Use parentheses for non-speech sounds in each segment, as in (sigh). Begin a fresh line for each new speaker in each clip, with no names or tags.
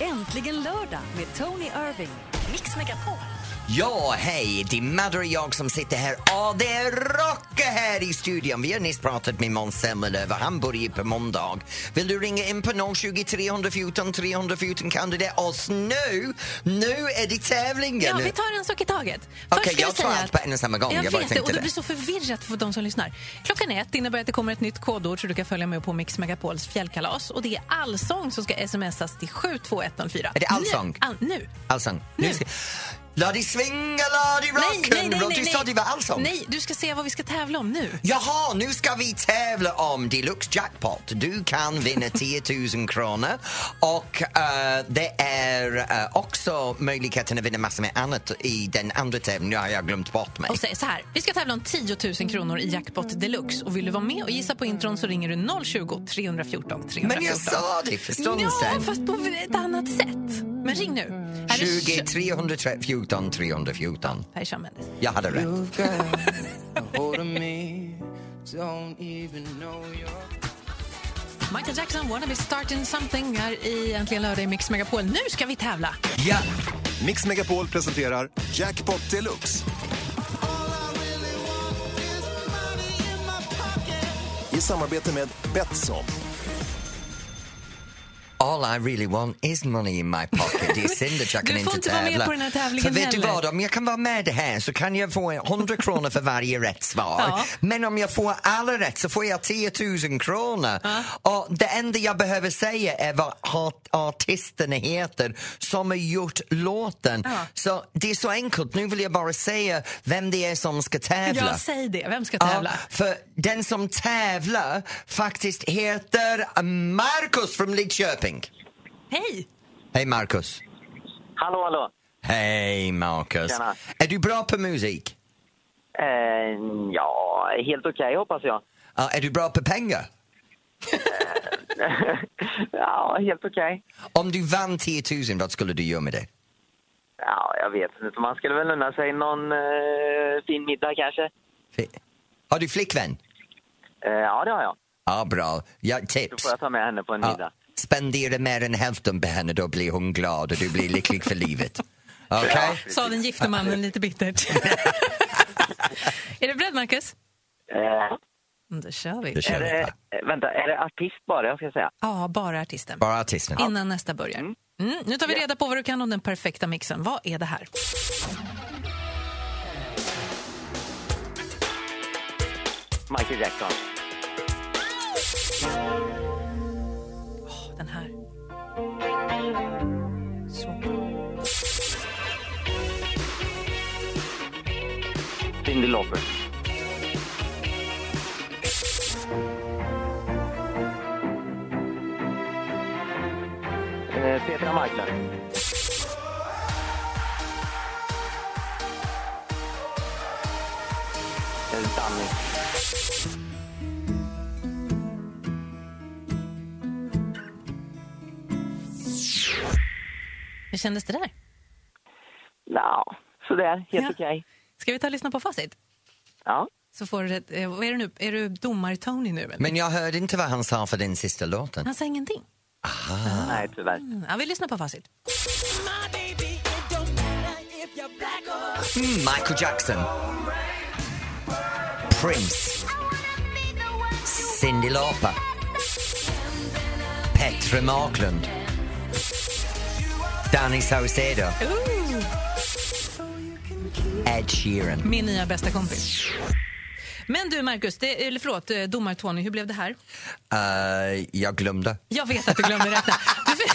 Äntligen lördag med Tony Irving. Mix Megapol.
Ja, hej! Det är Madde och jag som sitter här. Ja, det är Rocke här i studion. Vi har nyss pratat med Måns Zelmerlöw och han börjar på måndag. Vill du ringa in på 020 314 314 kan du det. Oss nu! Nu är det tävlingen!
Ja, vi tar en sak i taget.
Okej,
Först ska
jag
vi
tar
säga
allt på en och samma gång.
Jag,
Jag bara
vet det,
tänkte
och det
det.
blir så förvirrat för de som lyssnar. Klockan är ett innebär att det kommer ett nytt kodord så du kan följa med på Mix Megapols fjällkalas. Och det är allsång som ska smsas till 72104.
Är det allsång?
Nu! All, nu.
Allsång. Alltså, Nu
Nu.
ska... La di swinga, la di rock'n'roll. Du Ah, sa det var allsång.
Nej, du ska se vad vi ska tävla om nu.
Jaha, nu ska vi tävla om Deluxe Jackpot. Du
(laughs)
kan vinna 10 000 kronor och eh, det är eh, också möjligheten att vinna massor med annat i den andra tävlingen. Nu har jag glömt bort mig.
Och säg så här, vi ska tävla om 10 000 kronor i jackpot deluxe. Och vill du vara med och gissa på intron så ringer du 020 314 314.
Men jag sa det för stunden
Ja,
sedan.
fast på ett annat sätt. Men ring nu. Här är
20 314 314.
Här är Shawn Mendes.
Jag hade rätt.
You've got a hold of me. Don't even know you're...
Michael Jackson, Wanna Be Starting Something är i Äntligen lördag i Mix Megapol. Nu ska vi tävla!
Ja.
Mix Megapol presenterar Jackpot Deluxe. I samarbete med Betsson.
All I really want is money in my pocket. Det är synd att
(laughs)
jag
Du
kan
får inte
inte
vara med
tävla.
på den här tävlingen
För vet du
heller.
vad, om jag kan vara med här så kan jag få 100 kronor för varje rätt svar.
Ja.
Men om jag får alla rätt så får jag 10 000 kronor. Och det enda jag behöver säga är vad art- artisterna heter som har gjort låten. Så det är så enkelt. Nu vill jag bara säga vem det är som ska tävla.
Ja, säg det. Vem ska
Ja,
tävla?
för den som tävlar faktiskt heter Marcus från Lidköping.
Hej!
Hej Marcus.
Hallå, hallå.
Hej Marcus.
Tjena.
Är du bra på musik?
Eh, ja, helt okej hoppas jag.
Ja, är du bra på pengar?
ja, helt okej.
Om du vann 10 000, vad skulle du göra med det?
Ja, jag vet inte. Man skulle väl unna sig någon eh, fin middag kanske.
Fi- Har du flickvän?
Eh, ja, det har jag.
Ja, bra. Ja,
Då
tips.
får jag ta med henne på en
Ja.
middag.
Spendera mer än hälften på henne, då blir hon glad och du blir lycklig för livet.
(laughs)
Okej?
Sa den gifte mannen lite
(laughs)
bittert. är du beredd, Marcus? Mm,
Eh,
Då kör vi.
Då kör
är
vi.
det, eh, vänta, är det artist bara jag ska säga?
Ja, bara artisten.
Bara artisten.
Innan nästa börjar. Mm, nu tar vi reda på vad du kan om den perfekta mixen. Vad är det här?
Michael Jackson.
Den här. Så.
Cyndi Lauper. Eh, Petra Marklund. Eh, Danny.
Hur kändes det där?
Ja, sådär. Helt
Ja.
okej.
Ska vi ta och lyssna på facit?
Ja.
Så får du, eh, vad är du nu? Är du domar-Tony nu? Eller?
Men jag hörde inte vad han sa för den sista låten.
Han sa ingenting.
Nej, tyvärr.
Mm, Ja, vi lyssnar på facit.
Mm, Michael Jackson. Prince. Cyndi Lauper. Petra Marklund. Danny Saucedo. Ed Sheeran.
Min nya bästa kompis. Men du, Marcus, det, eller förlåt, eh, domar-Tony, hur blev det här?
Eh, jag glömde.
Jag vet att du glömde räkna. (laughs) Du,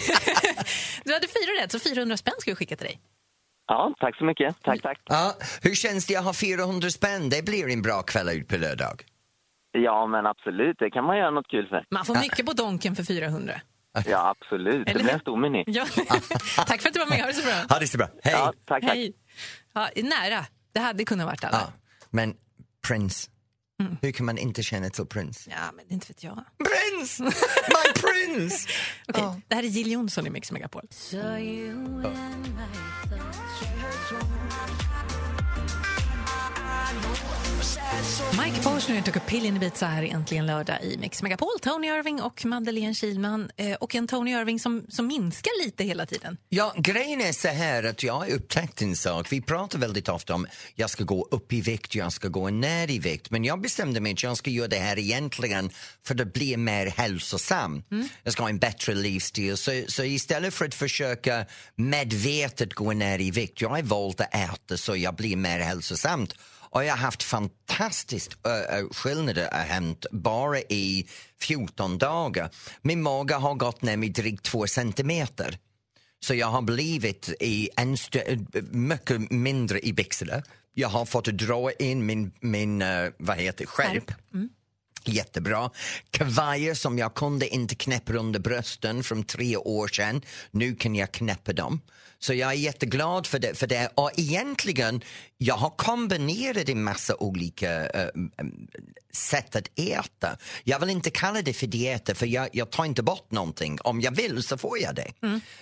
du hade fyra rätt, så 400 spänn ska vi skicka till dig.
Ja, tack så mycket. Tack, tack.
Ja, hur känns det att ha 400 spänn? Det blir en bra kväll ut på lördag.
Ja, men absolut. Det kan man göra något kul för.
Man får mycket på donken för 400.
Ja, absolut. Det
Eller
blir
hur?
en stor meny.
Ja.
Ah.
(laughs) Tack för att du var med. Ha det så bra.
Ha det så bra. Hej!
Ja, tack, tack.
Hej. Ja, nära. Det hade kunnat varit alla.
Ja, men Prince. Hur kan man inte känna till Prince?
Ja, men inte vet jag.
Prince! My Prince!
Okej, Det här är Jill Johnson i Mix Megapol. Mike Posner tog upp pill in Ibiza här äntligen lördag i Mix Megapol. Tony Irving och Madeleine Kilman eh, och en Tony Irving som, som minskar lite hela tiden.
Ja, grejen är så här att jag har upptäckt en sak. Vi pratar väldigt ofta om jag ska gå upp i vikt, jag ska gå ner i vikt. Men jag bestämde mig att jag ska göra det här egentligen för att bli mer hälsosam. Jag ska ha en bättre livsstil. Så, så istället för att försöka medvetet gå ner i vikt, jag har valt att äta så jag blir mer hälsosamt. Och jag har haft fantastiskt äh, äh, skillnader har hänt bara i 14 dagar. Min mage har gått ner med drygt två centimeter. Så jag har blivit i en stö- mycket mindre i byxorna. Jag har fått dra in min, min eh, vad heter skärp. Jättebra. Kavajer som jag kunde inte knäppa under brösten från tre år sedan. Nu kan jag knäppa dem. Så jag är jätteglad för det. För det. Och egentligen, jag har kombinerat en massa olika eh, sätt att äta. Jag vill inte kalla det för dieter för jag, jag tar inte bort någonting. Om jag vill så får jag det.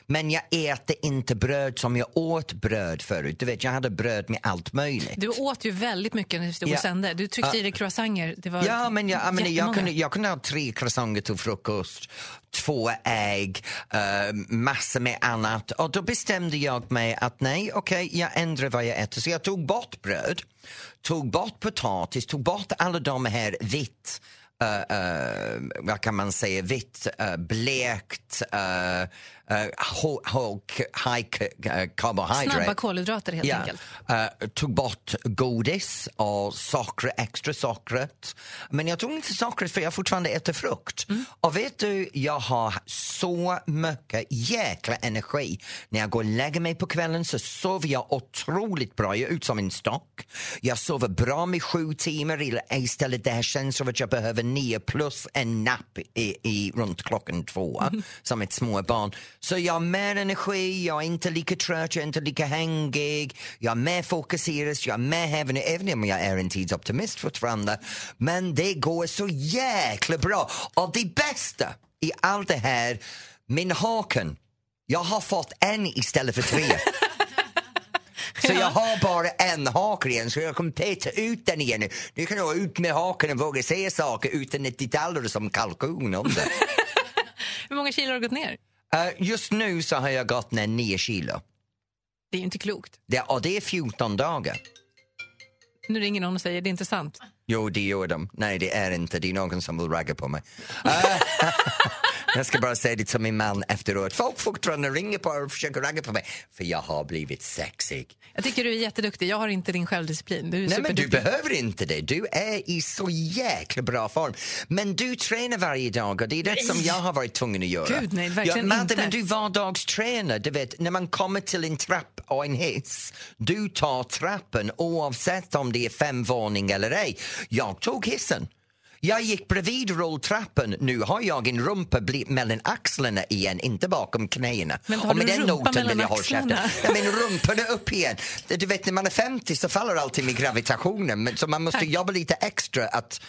Men jag äter inte bröd som jag åt bröd förut. Du vet, jag hade bröd med allt möjligt.
Du åt ju väldigt mycket när vi stod
Ja.
och sände. Du tryckte i dig croissanter. Det var
Ja, men jag, jag, menar, jag,
jättemånga.
kunde, jag kunde ha tre croissanter till frukost, två ägg, eh, massor med annat. Och då bestämde jag mig att nej, okej, jag ändrar vad jag äter. Så jag tog bort bröd, tog bort potatis, tog bort alla de här vitt eh, eh, vad kan man säga, vitt, eh, blekt, uh, high uh, carbohydrate.
Snabba kolhydrater helt enkelt.
Eh, tog bort godis och socker, extra sockret. Men jag tog inte sockret för jag fortfarande äter frukt.
Mm.
Och vet du, jag har så mycket jäkla energi. När jag går och lägger mig på kvällen så sover jag otroligt bra. Jag är ut som en stock. Jag sover bra med sju timmar i- istället det här känns som att jag behöver nio plus en napp i, i, runt klockan två som ett småbarn. Så jag har mer energi, jag är inte lika trött, jag är inte lika hängig, jag är mer fokuserad, jag är mer hävande, även om jag är en tidsoptimist fortfarande. Men det går så jäkla bra. Och det bästa i allt det här, min haken, jag har fått en istället för tre. Så jag har bara en hake igen, så jag kommer peta ut den igen. Nu kan jag ut med haken och våga se saker utan att det dallrar som kalkon under.
Hur många kilo har du gått ner?
Eh, just nu så har jag gått ner 9 kilo.
Det är ju inte klokt.
Det, och det är 14 dagar.
Nu ringer någon och säger det är inte sant.
Jo, det gör de. Nej, det är inte. Det är någon som vill ragga på mig. Eh, (laughs) jag ska bara säga det till min man efteråt. Folk fortfarande ringer på och försöker ragga på mig, för jag har blivit sexig.
Jag tycker du är jätteduktig. Jag har inte din självdisciplin. Du är
Nej, men du
superduktig.
behöver inte det. Du är i så jäkla bra form. Men du tränar varje dag och det är det som jag har varit tvungen att göra.
Gud, nej, verkligen
Madde,
inte.
Men du vardagstränar. Du vet, när man kommer till en trapp och en hiss, du tar trappen oavsett om det är fem våningar eller ej. Jag tog hissen. Jag gick bredvid rulltrappen. Nu har jag en rumpa bli- mellan axlarna igen, inte bakom knäna.
Men har
Och
du
med den
rumpa
noten vill
mellan
jag hålla käften.
axlarna?
Ja, men rumpan är upp igen. Du vet när man är 50 så faller allting med gravitationen men, så man måste
Tack.
jobba lite extra att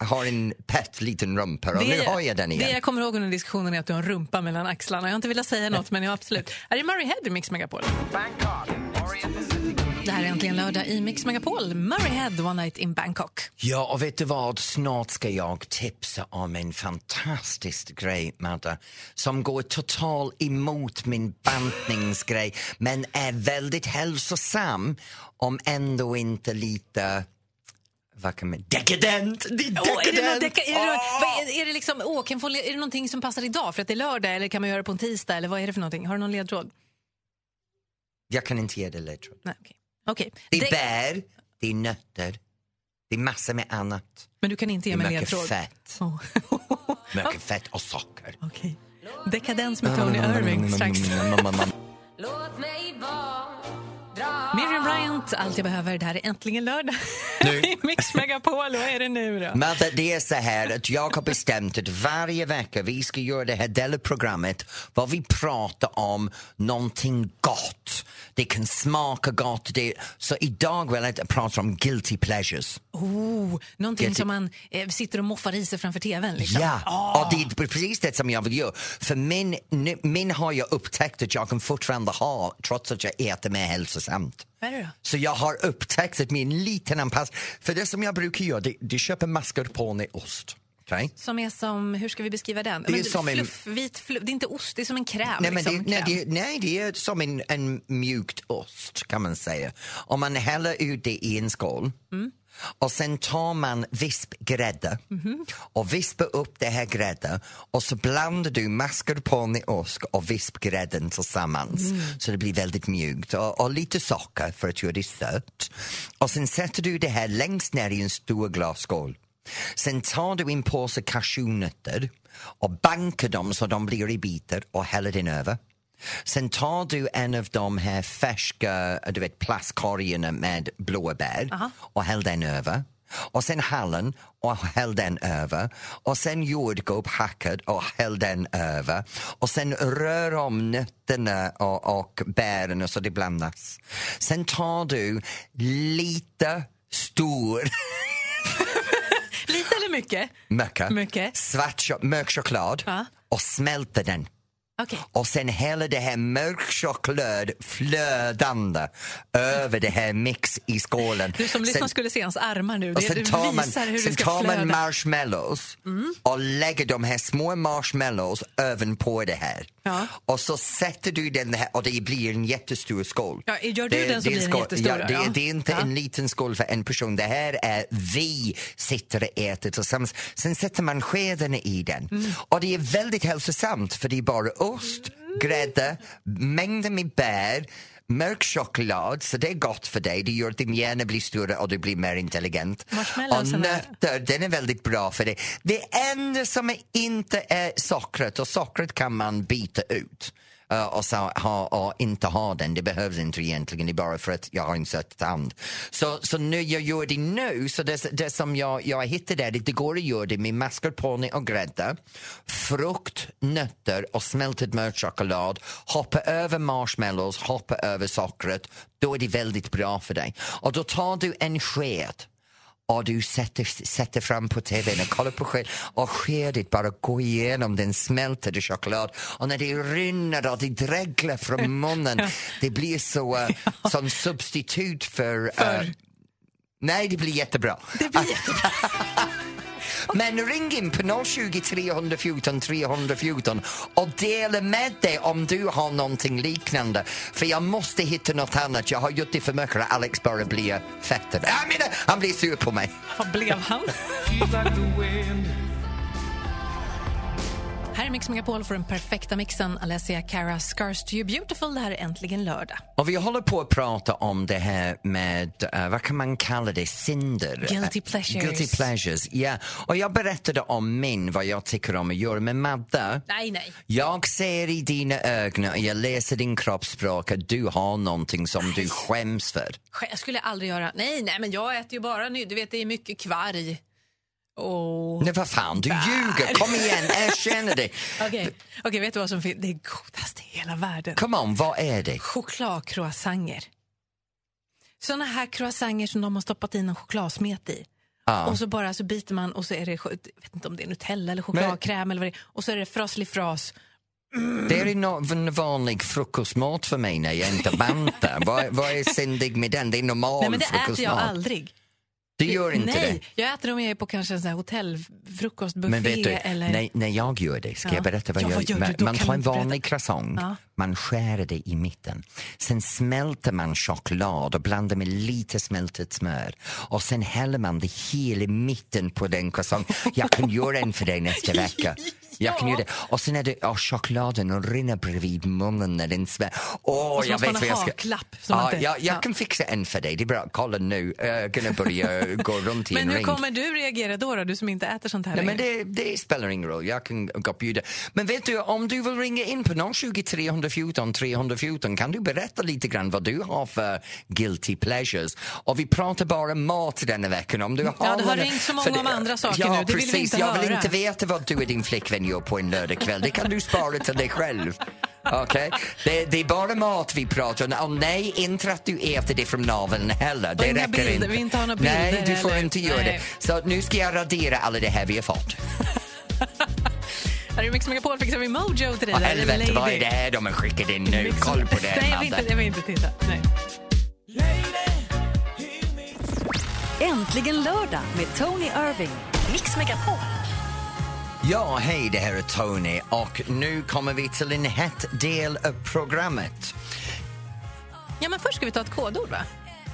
äh, ha en pet liten rumpa och nu har jag den
Det
igen.
jag kommer ihåg under diskussionen är att du har en rumpa mellan axlarna. Jag har inte velat säga något, men jag absolut. Här är Murray Head i Mix Megapol. Det här är äntligen lördag i Mix Megapol. Murray Head, One Night in Bangkok.
Ja, och vet du vad? Snart ska jag tipsa om en fantastisk grej, Madde, som går totalt emot min bantningsgrej men är väldigt hälsosam om ändå inte lite... Vad kan man... Dekadent! Det är dekadent!
Åh, är, det någon deka- är, det,
Åh!
vad är, är det liksom, åh, kan få, le- är det någonting som passar idag för att det är lördag eller kan man göra det på en tisdag eller vad är det för någonting? Har du någon ledtråd?
Jag kan inte ge dig ledtråd.
Nej, okej. Okej.
Det är
Det-
bär, det är nötter, det är massor med annat.
Men du kan inte
Det
ge
är
mig
mycket
ledtråd.
fett.
Åh. (laughs)
Mycket fett och socker. Mm,
Okej. Dekadens
Ah,
med Tony Irving Mm, strax. Miriam Bryant, Allt jag behöver. Det här är äntligen lördag.
Nu.
(laughs)
Mm.
I Mix Megapol. Vad är det nu då?
Men det- det är så här att jag har bestämt att varje vecka vi ska göra det här delprogrammet var vi pratar om någonting gott. Det kan smaka gott. Det, så idag vill jag prata om guilty pleasures.
Oh, någonting
Get
som man eh, sitter och moffar i sig framför tvn. Liksom.
Ja, och det är precis det som jag vill göra. För min, nu- min har jag upptäckt att jag kan fortfarande ha trots att jag äter mer hälsosamt.
Vad är det då?
Så jag har upptäckt att min liten anpassning... För det som jag brukar göra, det, det köper mascarpone-ost. Okay?
Som är som, hur ska vi beskriva den?
Det är
Men
som en-
fluff, vit fluff, det är inte ost, det är som en kräm.
Nej, men det,
liksom,
nej,
kräm.
det, nej, det är som en, en mjukt ost kan man säga. Om man häller ut det i en skål och sen tar man vispgrädde och vispar upp det här grädde och så blandar du mascarponeost och vispgrädden tillsammans så det blir väldigt mjukt och, och lite socker för att göra det sött. Och sen sätter du det här längst ner i en stor glasskål. Sen tar du en påse cashewnötter och bankar dem så de blir i bitar och häller den över. Sen tar du en av de här färska du vet, plastkorgarna med blåbär och häller den över. Och sen hallon och häll den över. Och sen jordgubb hackad och häll den över. Och sen rör om nötterna och, och bären så det blandas. Sen tar du lite stor (laughs)
Lite eller mycket?
Mycket.
Mycket.
Svart cho- mörk choklad
Ja.
och smälter den.
Okej.
Och sen häller det här mörk choklad flödande över det här mix i skålen.
Du som lyssnar
Sen-
skulle se hans armar nu.
och
Det,
sen
det
tar man,
visar hur det
sen
ska
tar
flöda. Mm.
man marshmallows och lägger de här små marshmallows ovanpå det här.
Ja.
Och så sätter du den här och det blir en jättestor skål.
Ja, gör du
Det-
den så
det är
blir den
skål-
jättestor,
Ja, det,
ja.
det är inte
Ja.
en liten skål för en person. Det här är vi sitter och äter tillsammans. Sen sätter man skedarna i den.
Mm.
Och det är väldigt hälsosamt för det är bara ost, grädde, mängder med bär Mörk choklad, så det är gott för dig. Det gör att din hjärna blir större och du blir mer intelligent. Och
Marshmallowsen är-
nötter, den är väldigt bra för dig. Det enda som är inte är sockret, och sockret kan man byta ut eh, och, så ha, och inte ha den, det behövs inte egentligen, det är bara för att jag har en sött tand. Så, så nu jag gör det nu, så det, det som jag, jag hittade är att det går att göra det med mascarpone och grädde, frukt, nötter och smältad mörk choklad, hoppa över marshmallows, hoppa över sockret, då är det väldigt bra för dig. Och då tar du en sked och du sätter, sätter fram på tvn och kollar på sked och skedet bara går igenom den smältade choklad och när det rinner och det dreglar (laughs) från munnen det blir så (laughs) eh, som substitut för... eh, nej, det blir jättebra. Ah, Men ring in på 020 314 314 och dela med dig om du har någonting liknande. För jag måste hitta något annat. Jag har gjort det för mycket och Alex bara blir fettad. Jag menar, han blir sur på mig.
Vad blev han? Här är Mix Megapol för den perfekta mixen. Alessia Cara, Scars to you beautiful. Det här är äntligen lördag.
Och vi håller på att prata om det här med, eh, vad kan man kalla det, synder?
Guilty
Eh,
pleasures.
Guilty pleasures, ja. Och jag berättade om min, vad jag tycker om att göra med Madde.
Nej, nej.
Jag ser i dina ögon och jag läser din kroppsspråk att du har någonting som du skäms för.
Sk- Jag skulle aldrig göra... Nej, nej, men jag äter ju bara nu. Du vet, det är mycket kvarg. Och...
Nej, vad fan, du ljuger! Kom igen, erkänn det!
Okej, Okej, vet du vad som finns? Det är godast i hela världen.
Come on, vad är det?
Chokladcroissanger. Såna här croissanger som de har stoppat i någon chokladsmet i. Och så bara så biter man och så är det, jag vet inte om det är Nutella eller chokladkräm eller vad det är. Och så är det fraslig fras.
Det är no- en vanlig frukostmat för mig när jag inte bantar. vad, vad är syndig med den? Det är normal
Nej men det
frukostmat.
äter jag aldrig.
Du gör inte
Nej,
det?
jag äter dem om jag är på kanske en sån här hotellfrukostbuffé
Men vet du,
eller...
när, när jag gör det, ska
Ja.
jag berätta vad
Ja,
jag
vad gör du?
Man,
Då
man
kan du
tar en
inte berätta.
vanlig croissant,
Ja.
man skär det i mitten. Sen smälter man choklad och blandar med lite smältet smör. Och sen häller man det hela mitten på den croissanten. Jag kan göra en för
(laughs)
dig nästa vecka. Jag kan
Ja.
göra det. Och sen är det, och chokladen rinner bredvid munnen när den smälter. Åh,
Och så
jag
måste
vet
man
vad
ha
jag ska...
haklapp som
Ja,
inte-
jag, jag
ja.
kan fixa en för dig. Det är bra. Kolla nu, ögonen börjar gå runt i
(laughs)
en
Men hur
ring.
kommer du reagera då, då, du som inte äter sånt här
Nej, men
längre?
det, det spelar ingen roll, jag kan gå och bjuda. Men vet du, om du vill ringa in på 020 314 314 kan du berätta lite grann vad du har för guilty pleasures? Och vi pratar bara mat denna veckan. Om du har
det har
någon-
ringt så många
för det-
om andra saker
ja,
nu, det vill vi
precis.
inte
Jag vill
höra.
inte veta vad du och din flickvän gör på en lördagkväll. Det kan du spara till dig själv. Okej? Det, det är bara mat vi pratar om. Och nej, inte att du äter det från naveln heller. Det
inga
räcker
bilder.
inte.
Vi inte har några
Nej,
bilder
du får
eller-
inte göra
Nej.
det. Så nu ska jag radera alla det här vi har fått.
Här är Mix Megapol, fixar vi Mojo till dig.
Åh,
där är
helvete, vad är
Lady.
det här de har skickat in nu?
Mix-
Koll på det,
Nej, jag vill inte,
Madde.
jag vill inte titta. Nej.
Äntligen lördag med Tony Irving. Mix Megapol.
Ja, hej, det här är Tony och nu kommer vi till en hett del av programmet.
Ja, men först ska vi ta ett kodord, va?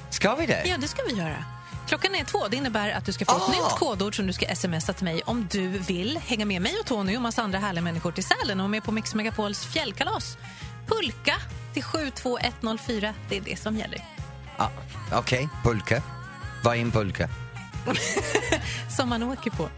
Ska vi det?
Ja, det ska vi göra. Klockan är två. Det innebär att du ska få ett
Ah!
nytt kodord som du ska smsa till mig om du vill hänga med mig och Tony och massa andra härliga människor till Sälen och med på Mix Megapols fjällkalas. Pulka till 72104. Det är det som gäller.
Ah, Okej, pulka. Vad är en pulka?
Som man åker på.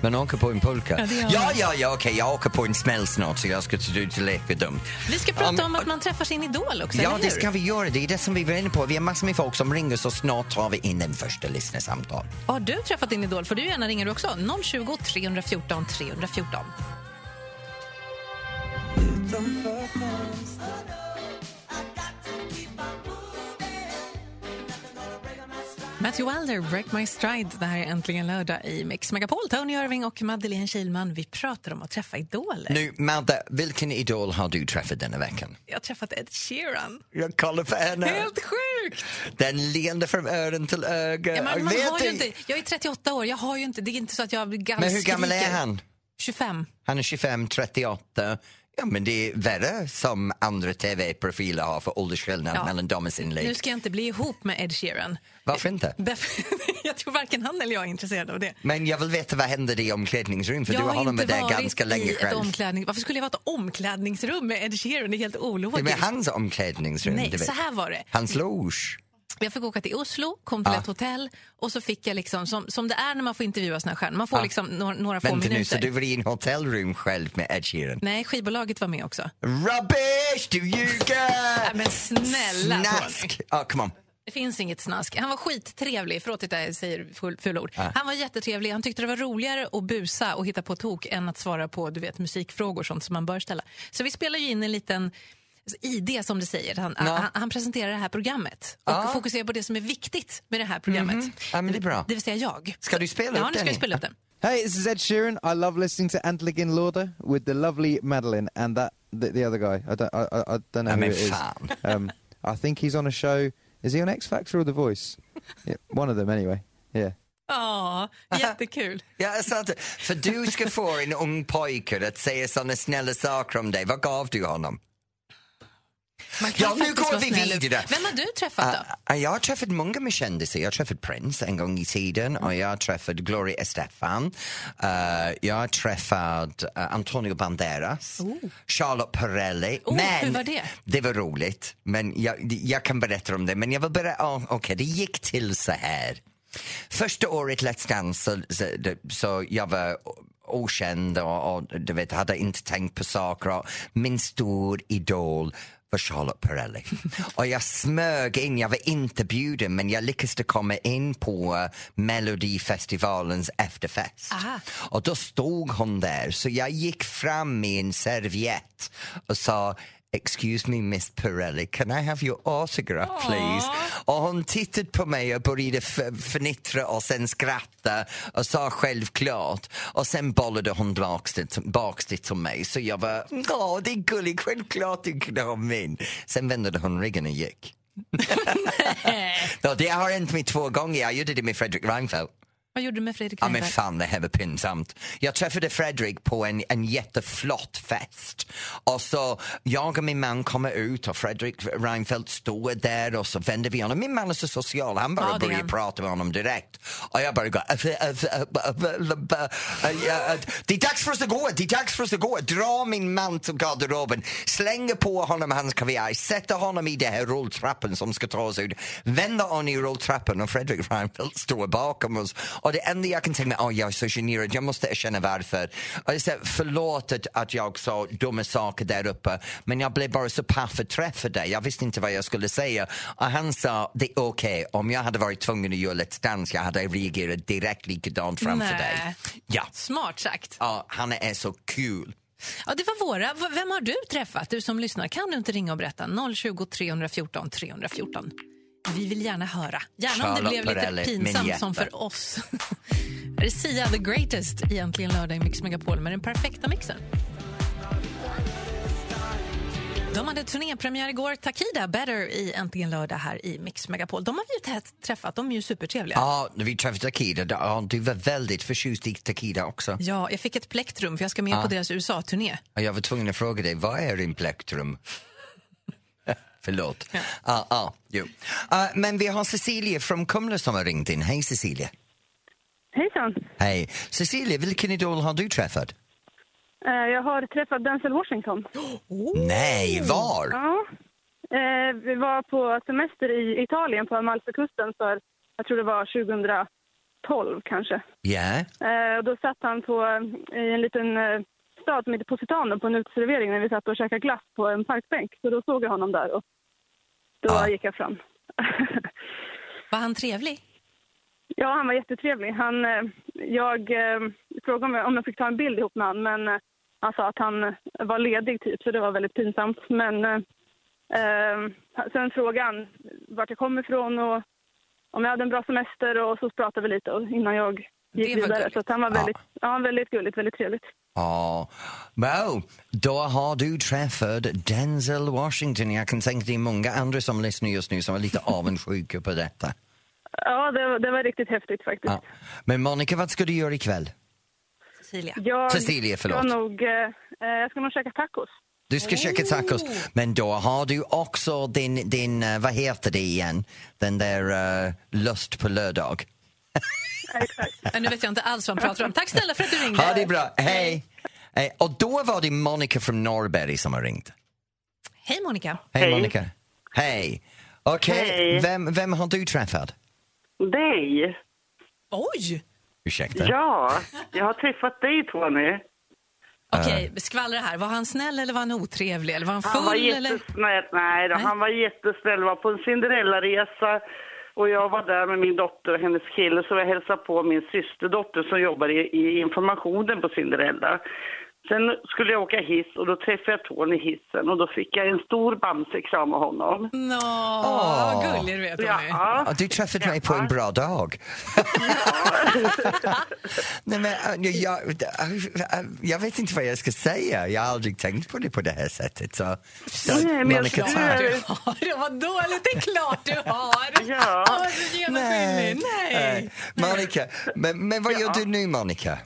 Man åker på en pulka.
Ja, det gör
ja,
man.
ja, ja, okej, jag åker på en smäll snart så jag ska se ut och leka dum.
Vi ska
Ja,
prata
men-
om att man träffar sin idol också,
Ja,
eller
det
hur?
ska vi göra. Det är det som vi var inne på. Vi har massor med folk som ringer så snart tar vi in den första lyssnarsamtal.
Har du träffat din idol? Får du gärna ringa du också. 020 314 314. Matthew Wilder, Break My Stride. Det här är äntligen lördag i Mix Megapol. Tony Irving och Madeleine Kilman. Vi pratar om att träffa idoler.
Nu, Madde, vilken idol har du träffat denna veckan?
Jag har träffat Ed Sheeran.
Jag kollar på henne.
Helt sjukt!
Den leende från öron till öga.
Ja,
Jag
men man
vet
har ju
i-
inte, jag är 38 år, jag har ju inte, det är inte så att jag blir gammal
Men hur gammal är
skriker.
han?
25.
Han är 25, 38. Ja, men det är värre som andra tv-profiler har för åldersskillnad
Ja.
mellan dem och sin
Nu
lek.
ska jag inte bli ihop med Ed Sheeran.
Varför inte?
Därför, (laughs) jag tror varken han eller jag är intresserad av det.
Men jag vill veta vad händer i omklädningsrum för
jag
du har honom
inte
där
varit
ganska länge
i ett
själv.
omklädning. Varför skulle jag vara i ett omklädningsrum med Ed Sheeran? Det är helt
Det är med
ologiskt.
hans omklädningsrum. du
Nej,
vet.
så här var det.
Hans loge.
Jag fick åka till Oslo, kom till ett hotell och så fick jag liksom, som, som det är när man får intervjua såna här stjärnor, man får liksom några, några få
Vänta nu, så
minuter.
du var i en hotellrum själv med Ed Sheeran?
Nej, skivbolaget var med också.
Rubbish! Du ljuger!
Nej, men snälla Tony.
Snask! Ja, kom on.
Det finns inget snask. Han var skittrevlig. Förlåt att jag säger full, fula ord. Han var jättetrevlig. Han tyckte det var roligare att busa och hitta på tok än att svara på du vet, musikfrågor sånt som man bör ställa. Så vi spelar ju in en liten ID som det säger. Han, han, han presenterar det här programmet och fokuserar på det som är viktigt med det här programmet.
Mhm. Ja, men det är bra.
Det vill säga jag.
Ska du spela
ja,
upp
nu ska
den?
jag spela upp den.
Hey, this is Ed Sheeran. I love listening to Antligan Lauder with the lovely Madeline and that the, the other guy. I don't, I, I, I don't know
I
who
mean,
it is.
fan.
(laughs) Um, I think he's on a show. Is he on X Factor or The Voice? Yeah, one of them, anyway. Yeah.
Ja, jättekul.
Ja, jag sa inte. För du ska få en ung pojke att säga såna snälla saker om dig. Vad gav du honom?
Man kan
Ja, nu
faktiskt
går
vara
vi
snäll.
vidare. Ah.
Vem har du träffat då?
Ja, Jag har träffat många med kändisar. Jag har träffat Prince en gång i tiden och jag har träffat Gloria Estefan. Eh, jag har träffat eh, Antonio Banderas, Charlotte Perrelli.
Oh, hur var det?
det var roligt. Men jag, jag kan berätta om det. Men jag vill berätta, oh, okej, det gick till så här. Första året Let's Dance så, så, så jag var okänd och, och du vet, hade inte tänkt på saker. Och min stor idol var Charlotte Perrelli. och jag smög in, jag var inte bjuden men jag lyckades komma in på eh, Melodifestivalens efterfest.
Aha.
Och då stod hon där så jag gick fram med en serviett och sa Excuse me Miss Pirelli, can I have your autograph please? Och hon tittade på mig och började f- fnittra och sen skratta och sa självklart. Och sen bollade hon tillbaks det, baks det till mig så jag var, ja det är gulligt, självklart du kunde ha min. Sen vände hon ryggen och gick. (laughs) Ja, det har hänt mig två gånger, jag gjorde det med Fredrik Reinfeldt.
Vad gjorde du med Fredrik
Ja men
Reinfeldt?
fan det här var pinsamt. Jag träffade Fredrik på en, en jätteflott fest och så jag och min man kommer ut och Fredrik Reinfeldt står där och så vänder vi honom. Min man är så social, han bara
Ja, det är
börjar
han.
prata med honom direkt. Och jag bara går... "Äh, Det är dags för oss att gå, det är dags för oss att gå. Dra min man till garderoben, slänger på honom hans kaviar, sätter honom i den här rulltrappan som ska ta oss ut. Vänder hon i rulltrappan och Fredrik Reinfeldt står bakom oss. Och det enda jag kan tänka mig, åh jag är så generad, jag måste erkänna varför. Och jag säger, förlåt att, att jag sa dumma saker där uppe men jag blev bara så paff att träffa dig. Jag visste inte vad jag skulle säga. Och han sa, det är okej, om jag hade varit tvungen att göra Let's Dance jag hade reagerat direkt likadant framför
Nej.
dig. Ja.
Smart sagt.
ja, han är så kul.
Ja, det var våra. V- Vem har du träffat? Du som lyssnar, kan du inte ringa och berätta? 020 314 314. Vi vill gärna höra. Gärna om det
Charlotte
blev
Perrelli,
lite
min
pinsamt
jätte.
som för oss. (laughs) Här är Sia the greatest egentligen lördag i Mix Megapol med den perfekta mixen. De hade turnépremiär igår, Takida Better i Äntligen lördag här i Mix Megapol. De har vi ju tä- träffat, de är ju supertrevliga.
Ja, när vi träffade Takida, då- ja, du var väldigt förtjust i Takida också.
Ja, jag fick ett plektrum för jag ska med på deras USA-turné.
Och jag var tvungen att fråga dig, vad är din plektrum? (laughs) Förlåt. Ja. Ah, ah, jo. Ah, men vi har Cecilia från Kumla som har ringt in. Hej Cecilia.
Hejsan.
Hej. Cecilia, vilken idol har du träffat?
Eh, Jag har träffat Denzel Washington.
Nej, var?
Ja. Eh, Vi var på semester i Italien på Amalfikusten för, jag tror det var 2012 kanske.
Ja.
Eh, Och då satt han på, eh, i en liten eh, stad som heter Positano på en uteservering när vi satt och käkade glass på en parkbänk. Så då såg jag honom där och då
Ah.
gick jag fram. (laughs)
Var han trevlig?
Ja, han var jättetrevlig. Han, eh, jag eh, frågade om jag, om jag fick ta en bild ihop med honom, men eh, han sa att han eh, var ledig typ, så det var väldigt pinsamt. Men eh, eh, sen frågade han vart jag kom ifrån och om jag hade en bra semester och så pratade vi lite och, innan jag
Det
gick
var
vidare.
gulligt.
Så att han var väldigt, ja. väldigt gulligt, väldigt trevligt.
Ja, Mo, Ah. då har du träffat Denzel Washington. Jag kan tänka dig många andra som lyssnar just nu som är lite avundsjuka på detta.
Ja, det, var- det var riktigt häftigt faktiskt.
Ja. Men Monica, vad ska du göra ikväll?
Cecilia?
Jag,
Cecilia, förlåt.
Ska nog, eh, eh, jag ska nog käka tacos.
Du ska käka tacos, men då har du också din, din eh, vad heter det igen, den där eh, lust på lördag.
Ja, nu vet jag inte alls vad han pratar om. Tack snälla för att du ringde.
Ha det bra, hej! Eh, Och då var det Monica från Norrberg som har ringt.
Hej Monica.
Hej,
Hej.
Monica. Hej. Okej,
Hej.
vem, vem har du träffat?
Dig?
Oj!
Ursäkta.
Ja, jag har träffat dig Tony.
Okej, skvallra här. Var han snäll eller var han otrevlig? Eller var han full?
Han var
eller?
jättesnäll. Nej, då,
Nej.
han var jättesnäll. var på en Cinderella-resa och jag var där med min dotter och hennes kille så jag hälsade på min systerdotter som jobbar i, i informationen på Cinderella. Sen skulle jag åka hiss och då träffade jag Tony i hissen och då fick jag en stor bamsekram av honom.
Nå,
Åh.
vad gullig du är Tony.
Ja.
Ja, Du träffade mig på en bra dag. (laughs) Nej, men, eh, jag, eh, jag vet inte vad jag ska säga. Jag har aldrig tänkt på det på det här sättet. Så, så
Nej, men jag
Monica,
tror-
tack.
Du har, vad dåligt, det är klart du har!
(laughs) Ja.
Åh, du genomskinlig. Nej.
Monica, men, men vad gör du nu, Monica?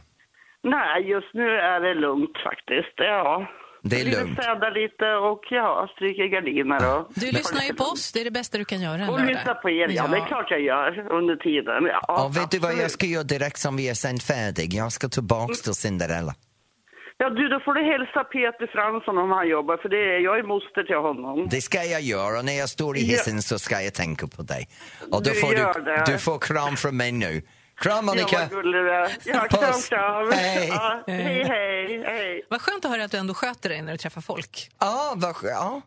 Nej, just nu är det lugnt faktiskt. Ja.
Det är
Ligger och
lugnt.
Städar lite och ja, stryker gardiner och...
Du lyssnar ju på oss, det är det bästa du kan göra en
Och
lördag.
lyssnar på er, ja. Det är klart jag gör under tiden. Ja,
Ja, vet du vad jag
absolut.
ska göra direkt som vi är sänd färdig? Jag ska tillbaka till Cinderella.
Ja, du, då får du hälsa Peter Fransson om han jobbar, för det är, jag är moster till honom.
Det ska jag göra och när jag står i
Ja.
hissen så ska jag tänka på dig. Och då
Du
får
gör
du,
det.
du får kram från mig nu. Kram
Ja,
Monica!
vad gullig du är. Ja, kram,
Puss.
kram.
Hej.
Ja,
Eh.
hej, hej, hej.
Vad skönt att höra att du ändå sköter dig när du träffar folk.
Ja, vad skö- ja.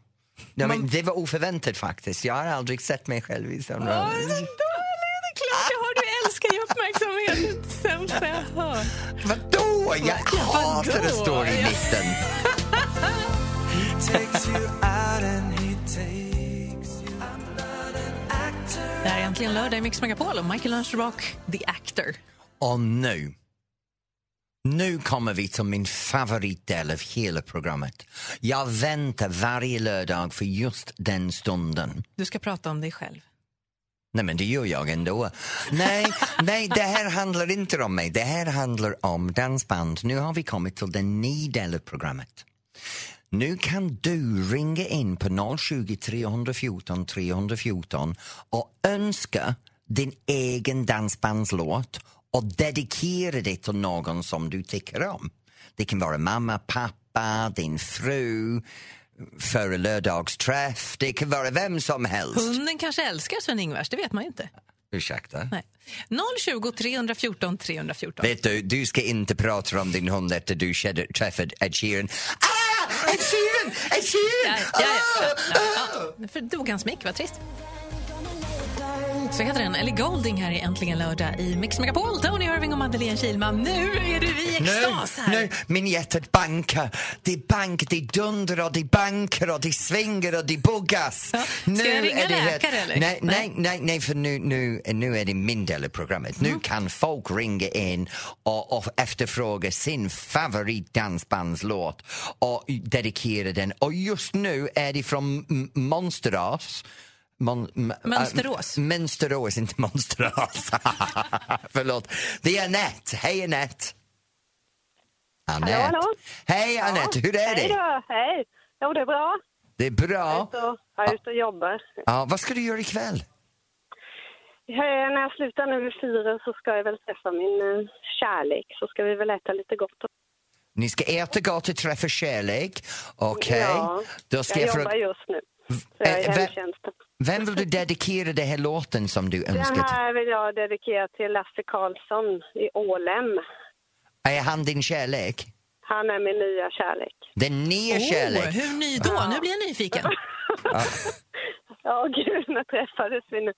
Ja, men det var oförväntat faktiskt. Jag har aldrig sett mig själv i sån roll.
Det är klart jag har, du älskar ju uppmärksamhet. Det sämsta jag hör.
Vadå? Jag hatar att stå i (laughs) mitten.
Det här är äntligen lördag i Mix Megapol och Michael Lunchrock, The Actor.
Och nu, nu kommer vi till min favoritdel av hela programmet. Jag väntar varje lördag för just den stunden.
Du ska prata om dig själv.
Nej, men det gör jag ändå. Nej, nej, det här handlar inte om mig. Det här handlar om dansband. Nu har vi kommit till den nya delen av programmet. Nu kan du ringa in på 020 314 314 och önska din egen dansbandslåt och dedikera det till någon som du tycker om. Det kan vara mamma, pappa, din fru, före lördagsträff. Det kan vara vem som helst.
Hunden kanske älskar Sven-Ingvars, det vet man ju inte.
Ursäkta?
Nej. 020 314 314.
Vet du, du ska inte prata om din hund efter du kände- träffade Ed Sheeran. Ah! Ed Sheeran! Ed Sheeran! Ah!
Ja, ja, ja, ja, ja. För dog hans mick, vad trist.
Gonna let it burn
Så heter den. Ellie Golding här i Äntligen lördag i Mix Megapol. Tony Irving och Madeleine Kilman. Nu är det vi i extas här.
nu, min hjärtat bankar. Det bank, det dundrar, det bankar och det svänger och det buggas.
Ja, ska jag ringa läkare, eller?
Nej, nej,
Nej.
nej, nej för nu, nu, nu är det min del av programmet.
Mm.
Nu kan folk ringa in och, och efterfråga sin favoritdansbandslåt och dedikera den. Och just nu är det från M- Monsterås. Mon, m-
Mönsterås.
äh, Mönsterås, inte Monsterås. Förlåt. Det är Anette. Hej Anette! Anette.
Hallå, hallå.
Hej Anette, hur är
Hej
det?
då, hej. Jo, det är bra.
Det är bra.
Så, jag är ute och jobbar.
Ja, vad ska du göra ikväll?
Eh, När jag slutar nu vid fyra så ska jag väl träffa min eh, kärlek. Så ska vi väl äta lite gott.
Ni ska äta gott och träffa kärlek. Okej.
Ja,
Då ska
jag
jag
jobbar
fråga,
just nu. Så jag är i
Eh, vem-
hemtjänsten.
vem vill du dedikera den här låten som du önskar
Den
till?
här vill jag dedikera till Lasse Karlsson i Ålem.
Är han din kärlek?
Han är min nya kärlek.
Den nya
Oh,
kärlek?
hur ny då? Nu blir jag nyfiken.
Ja, (laughs) gud, när träffades vi nu?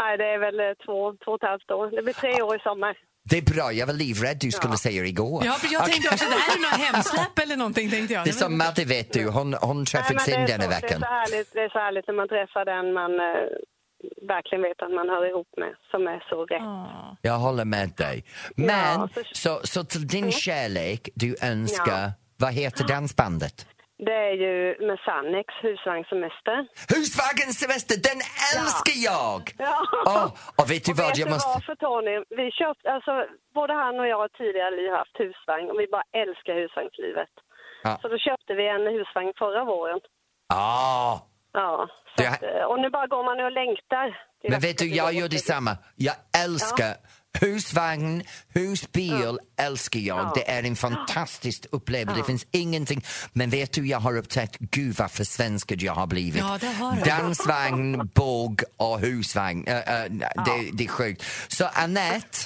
Nej, det är väl eh, två, två och ett halvt år. Det blir tre år i sommar.
Det är bra, jag var livrädd du skulle säga igår.
Ja, för jag tänkte också det här är något hemsläpp eller någonting. Tänkte jag.
Ah. Det är som Madde vet du, hon, hon träffade
Nej,
sin
men det är
denna
så-
veckan.
Det är, så härligt, det är så härligt när man träffar den man eh, verkligen vet att man hör ihop med, som är så rätt.
Jag håller med dig. Men,
så- Mm.
så, så till din kärlek, du önskar, vad heter dansbandet?
Det är ju med Sannex husvagnssemester.
Husvagnssemester, semester, den älskar jag!
Ja.
Åh, och vet du
Och vet
vad,
du
jag måste...
varför Tony? Vi köpt, alltså, både han och jag har tidigare liv haft husvagn och vi bara älskar husvagnslivet.
Ja.
Så då köpte vi en husvagn förra våren.
Ah,
Ja, så
Det-
att, eh, och nu bara går man och längtar. till
men
att
vet
det
du,
ska
jag
bli
gör
roligt.
detsamma. Jag älskar husvagn, husbil, älskar jag. Det är en fantastisk upplevelse. Det finns ingenting. Men vet du, jag har upptäckt, gud vad försvenskad jag har blivit.
Ja, det har du.
Dansvagn, båg och husvagn. Eh, eh, det, det är sjukt. Så Annette,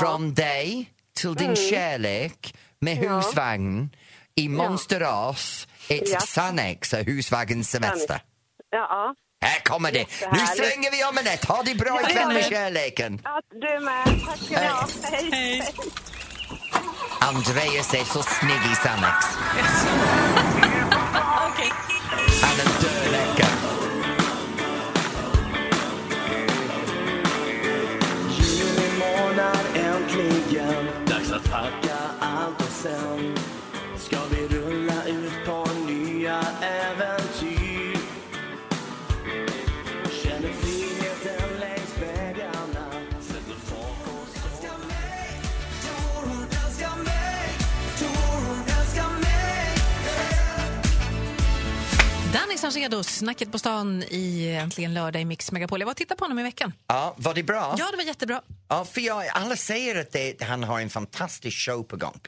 från dig till
Mm.
din kärlek med husvagn i Monsterås, ett
Ja.
Sannex, husvagns semester.
Ja,
Här kommer det! Nu
Jättehärligt.
svänger vi om Anette! Ha det bra ikväll med kärleken!
ja, du är med. Tack ska du ha. Hej.
Andreas är så snygg i Sannex. Han är dödläcker.
Juni månad äntligen Dags att packa allt och sen Ska vi rulla ut på nya äventyr Känner friheten längs vägarna Sätter fart på sommaren
Danny Saucedo, Snacket på stan i Äntligen lördag i Mix Megapol. Jag var och tittade på honom i veckan.
Ja, var det bra?
Ja, det var jättebra.
Ja, för jag, alla säger att det, han har en fantastisk show på gång.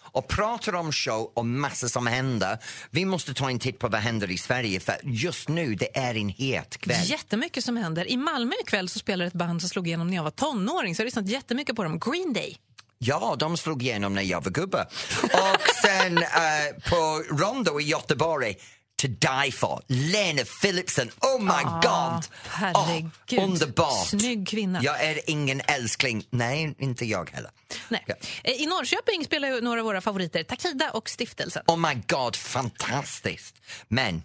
Och pratar om show och massor som händer. Vi måste ta en titt på vad händer i Sverige för just nu det är en het kväll.
Jättemycket som händer. I Malmö ikväll så spelar ett band som slog igenom när jag var tonåring. Så jag har lyssnat jättemycket på dem. Green Day.
Ja, de slog igenom när jag var gubbe. Och
(laughs)
sen eh, på Rondo i Göteborg, To Die For, Lena Philipsen. Oh my god!
Ah, herregud.
Åh, underbart.
Ah, Snygg kvinna.
Jag är ingen älskling. Nej, inte jag heller.
Nej.
Ja.
Eh, I Norrköping spelar ju några av våra favoriter, Takida och Stiftelsen.
Oh my god, fantastiskt! Men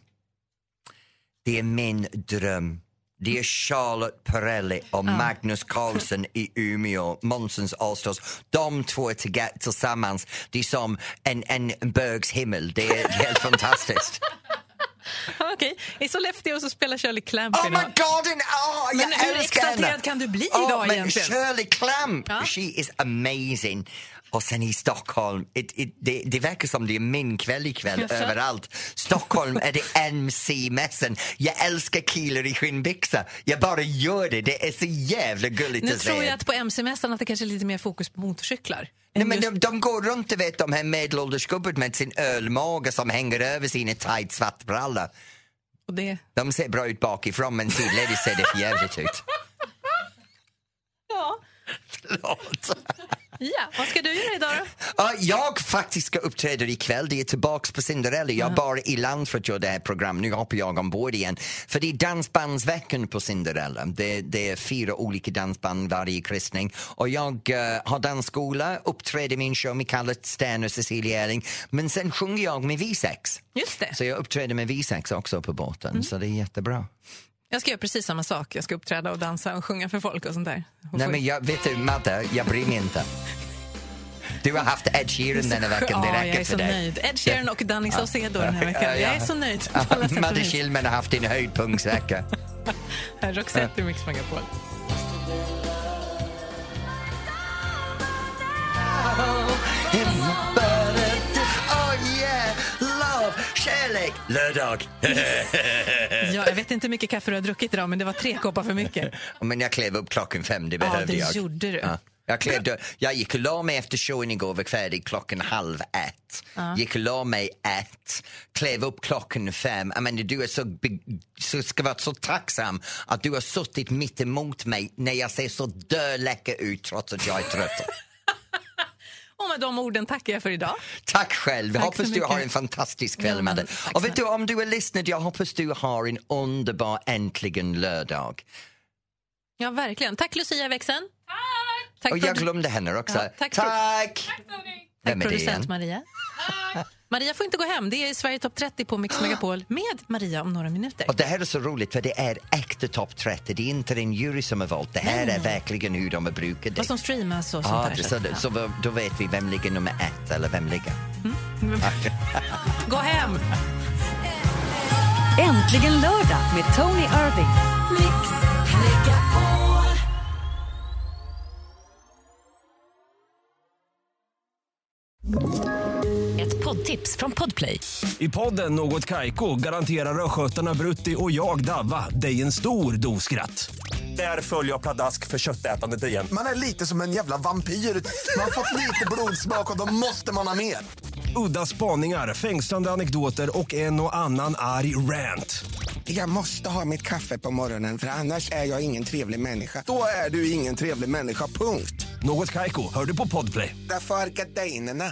det är min dröm. Det är Charlotte Perrelli och Magnus Carlsen i Umeå, Månsens Alstås. De två tillga- tillsammans, det är som en, en bögs himmel. Det är helt fantastiskt.
(laughs) Okej. I Sollefteå så spelar Shirley Clamp.
Oh
i
my
den här-
god, en, oh, jag
Men hur
älskar henne!
exalterad kan du bli
Åh,
idag
men
egentligen?
Shirley Clamp,
Ja.
she is amazing. Och sen i Stockholm, it, it, det, det verkar som det är min kväll ikväll
Jaså?
överallt. Stockholm är det MC-mässan. Jag älskar killar i skinnbyxor. Jag bara gör det, det är så jävla gulligt
nu
att
tror
se.
jag att på MC-mässan att det kanske är lite mer fokus på motorcyklar.
Nej,
än
men
just-
de, de går runt och vet de här medelålders gubbarna med sin ölmage som hänger över sina tight svartbrallor.
och det...
De ser bra ut bakifrån men sidledes ser det för jävligt ut.
Ja.
Förlåt.
Ja, vad ska du göra idag då?
Ja, jag faktiskt ska uppträda ikväll. Det är tillbaks på Cinderella. Jag bara i land för att göra det här programmet. Nu hoppar jag ombord igen. För det är dansbandsveckan på Cinderella. Det, det är fyra olika dansband varje kryssning. Och jag eh, har dansskola, uppträder min show med Kalle Sten och Cecilia Ehring. Men sen sjunger jag med V6.
Just det.
Så jag uppträder med V6 också på båten. Så det är jättebra.
Jag ska göra precis samma sak. Jag ska uppträda och dansa och sjunga för folk och sånt där. Och
Nej
få-
men jag, vet du Madde, jag bryr mig inte. Du har haft Ed Sheeran denna veckan, det
Ja, jag
räcker
är
för
så
dig.
nöjd. Ed Sheeran och Danny Saucedo den här veckan.
Ja, ja.
Jag är så nöjd på alla sätt och
Madde
vis.
Kihlman har haft din höjdpunktsvecka.
Här, Roxette i Mix Megapol.
Eh. oh yeah, love, kärlek, lördag.
Ja, jag vet inte hur mycket kaffe du har druckit idag, men det var tre koppar för mycket.
(laughs) Men jag klev upp klockan fem, det behövde
det
jag.
gjorde du.
Jag, klädde, jag gick och la mig efter showen igår, var färdig klockan halv ett. Gick och la mig ett, klev upp klockan fem. Jag menar, du är så, be- så ska vara så tacksam att du har suttit mitt emot mig när jag ser så döläcker ut trots att jag är trött.
(laughs) Och med de orden tackar jag för idag.
Tack själv.
Tack så
hoppas du
mycket.
har en fantastisk kväll
Ja,
med
men
dig.
tack
Och vet du,
snälla.
om du är lyssnad, jag hoppas du har en underbar äntligen lördag.
Ja, verkligen. Tack Lucia Växeln. Tack! Tack,
Och jag
produ-
glömde henne också.
Ja,
tack!
tack.
tack.
tack
Vem är det igen?
producent Maria. Maria får inte gå hem. Det är Sverige topp 30 på
(gasps)
Mix Megapol med Maria om några minuter.
Och det här är så roligt för det är äkta topp 30. Det är inte en jury som har valt. Det här är verkligen hur de har brukat det.
Vad som streamas och sånt
Ja,
där.
det, så, så då- då vet vi vem ligger nummer ett eller vem ligger.
Gå hem!
Äntligen lördag med Tony Irving. Ett poddtips från Podplay.
I podden Något Kaiko garanterar östgötarna Brutti och jag, Davva, dig en stor dos skratt. Där följer jag pladask för köttätandet igen.
Man är lite som en jävla vampyr. Man har fått lite blodsmak och då måste man ha mer.
Udda spaningar, fängslande anekdoter och en och annan arg rant.
Jag måste ha mitt kaffe på morgonen för annars är jag ingen trevlig människa.
Då är du ingen trevlig människa, punkt.
Något Kaiko, hör du på Podplay.
Därför arkadeinerna.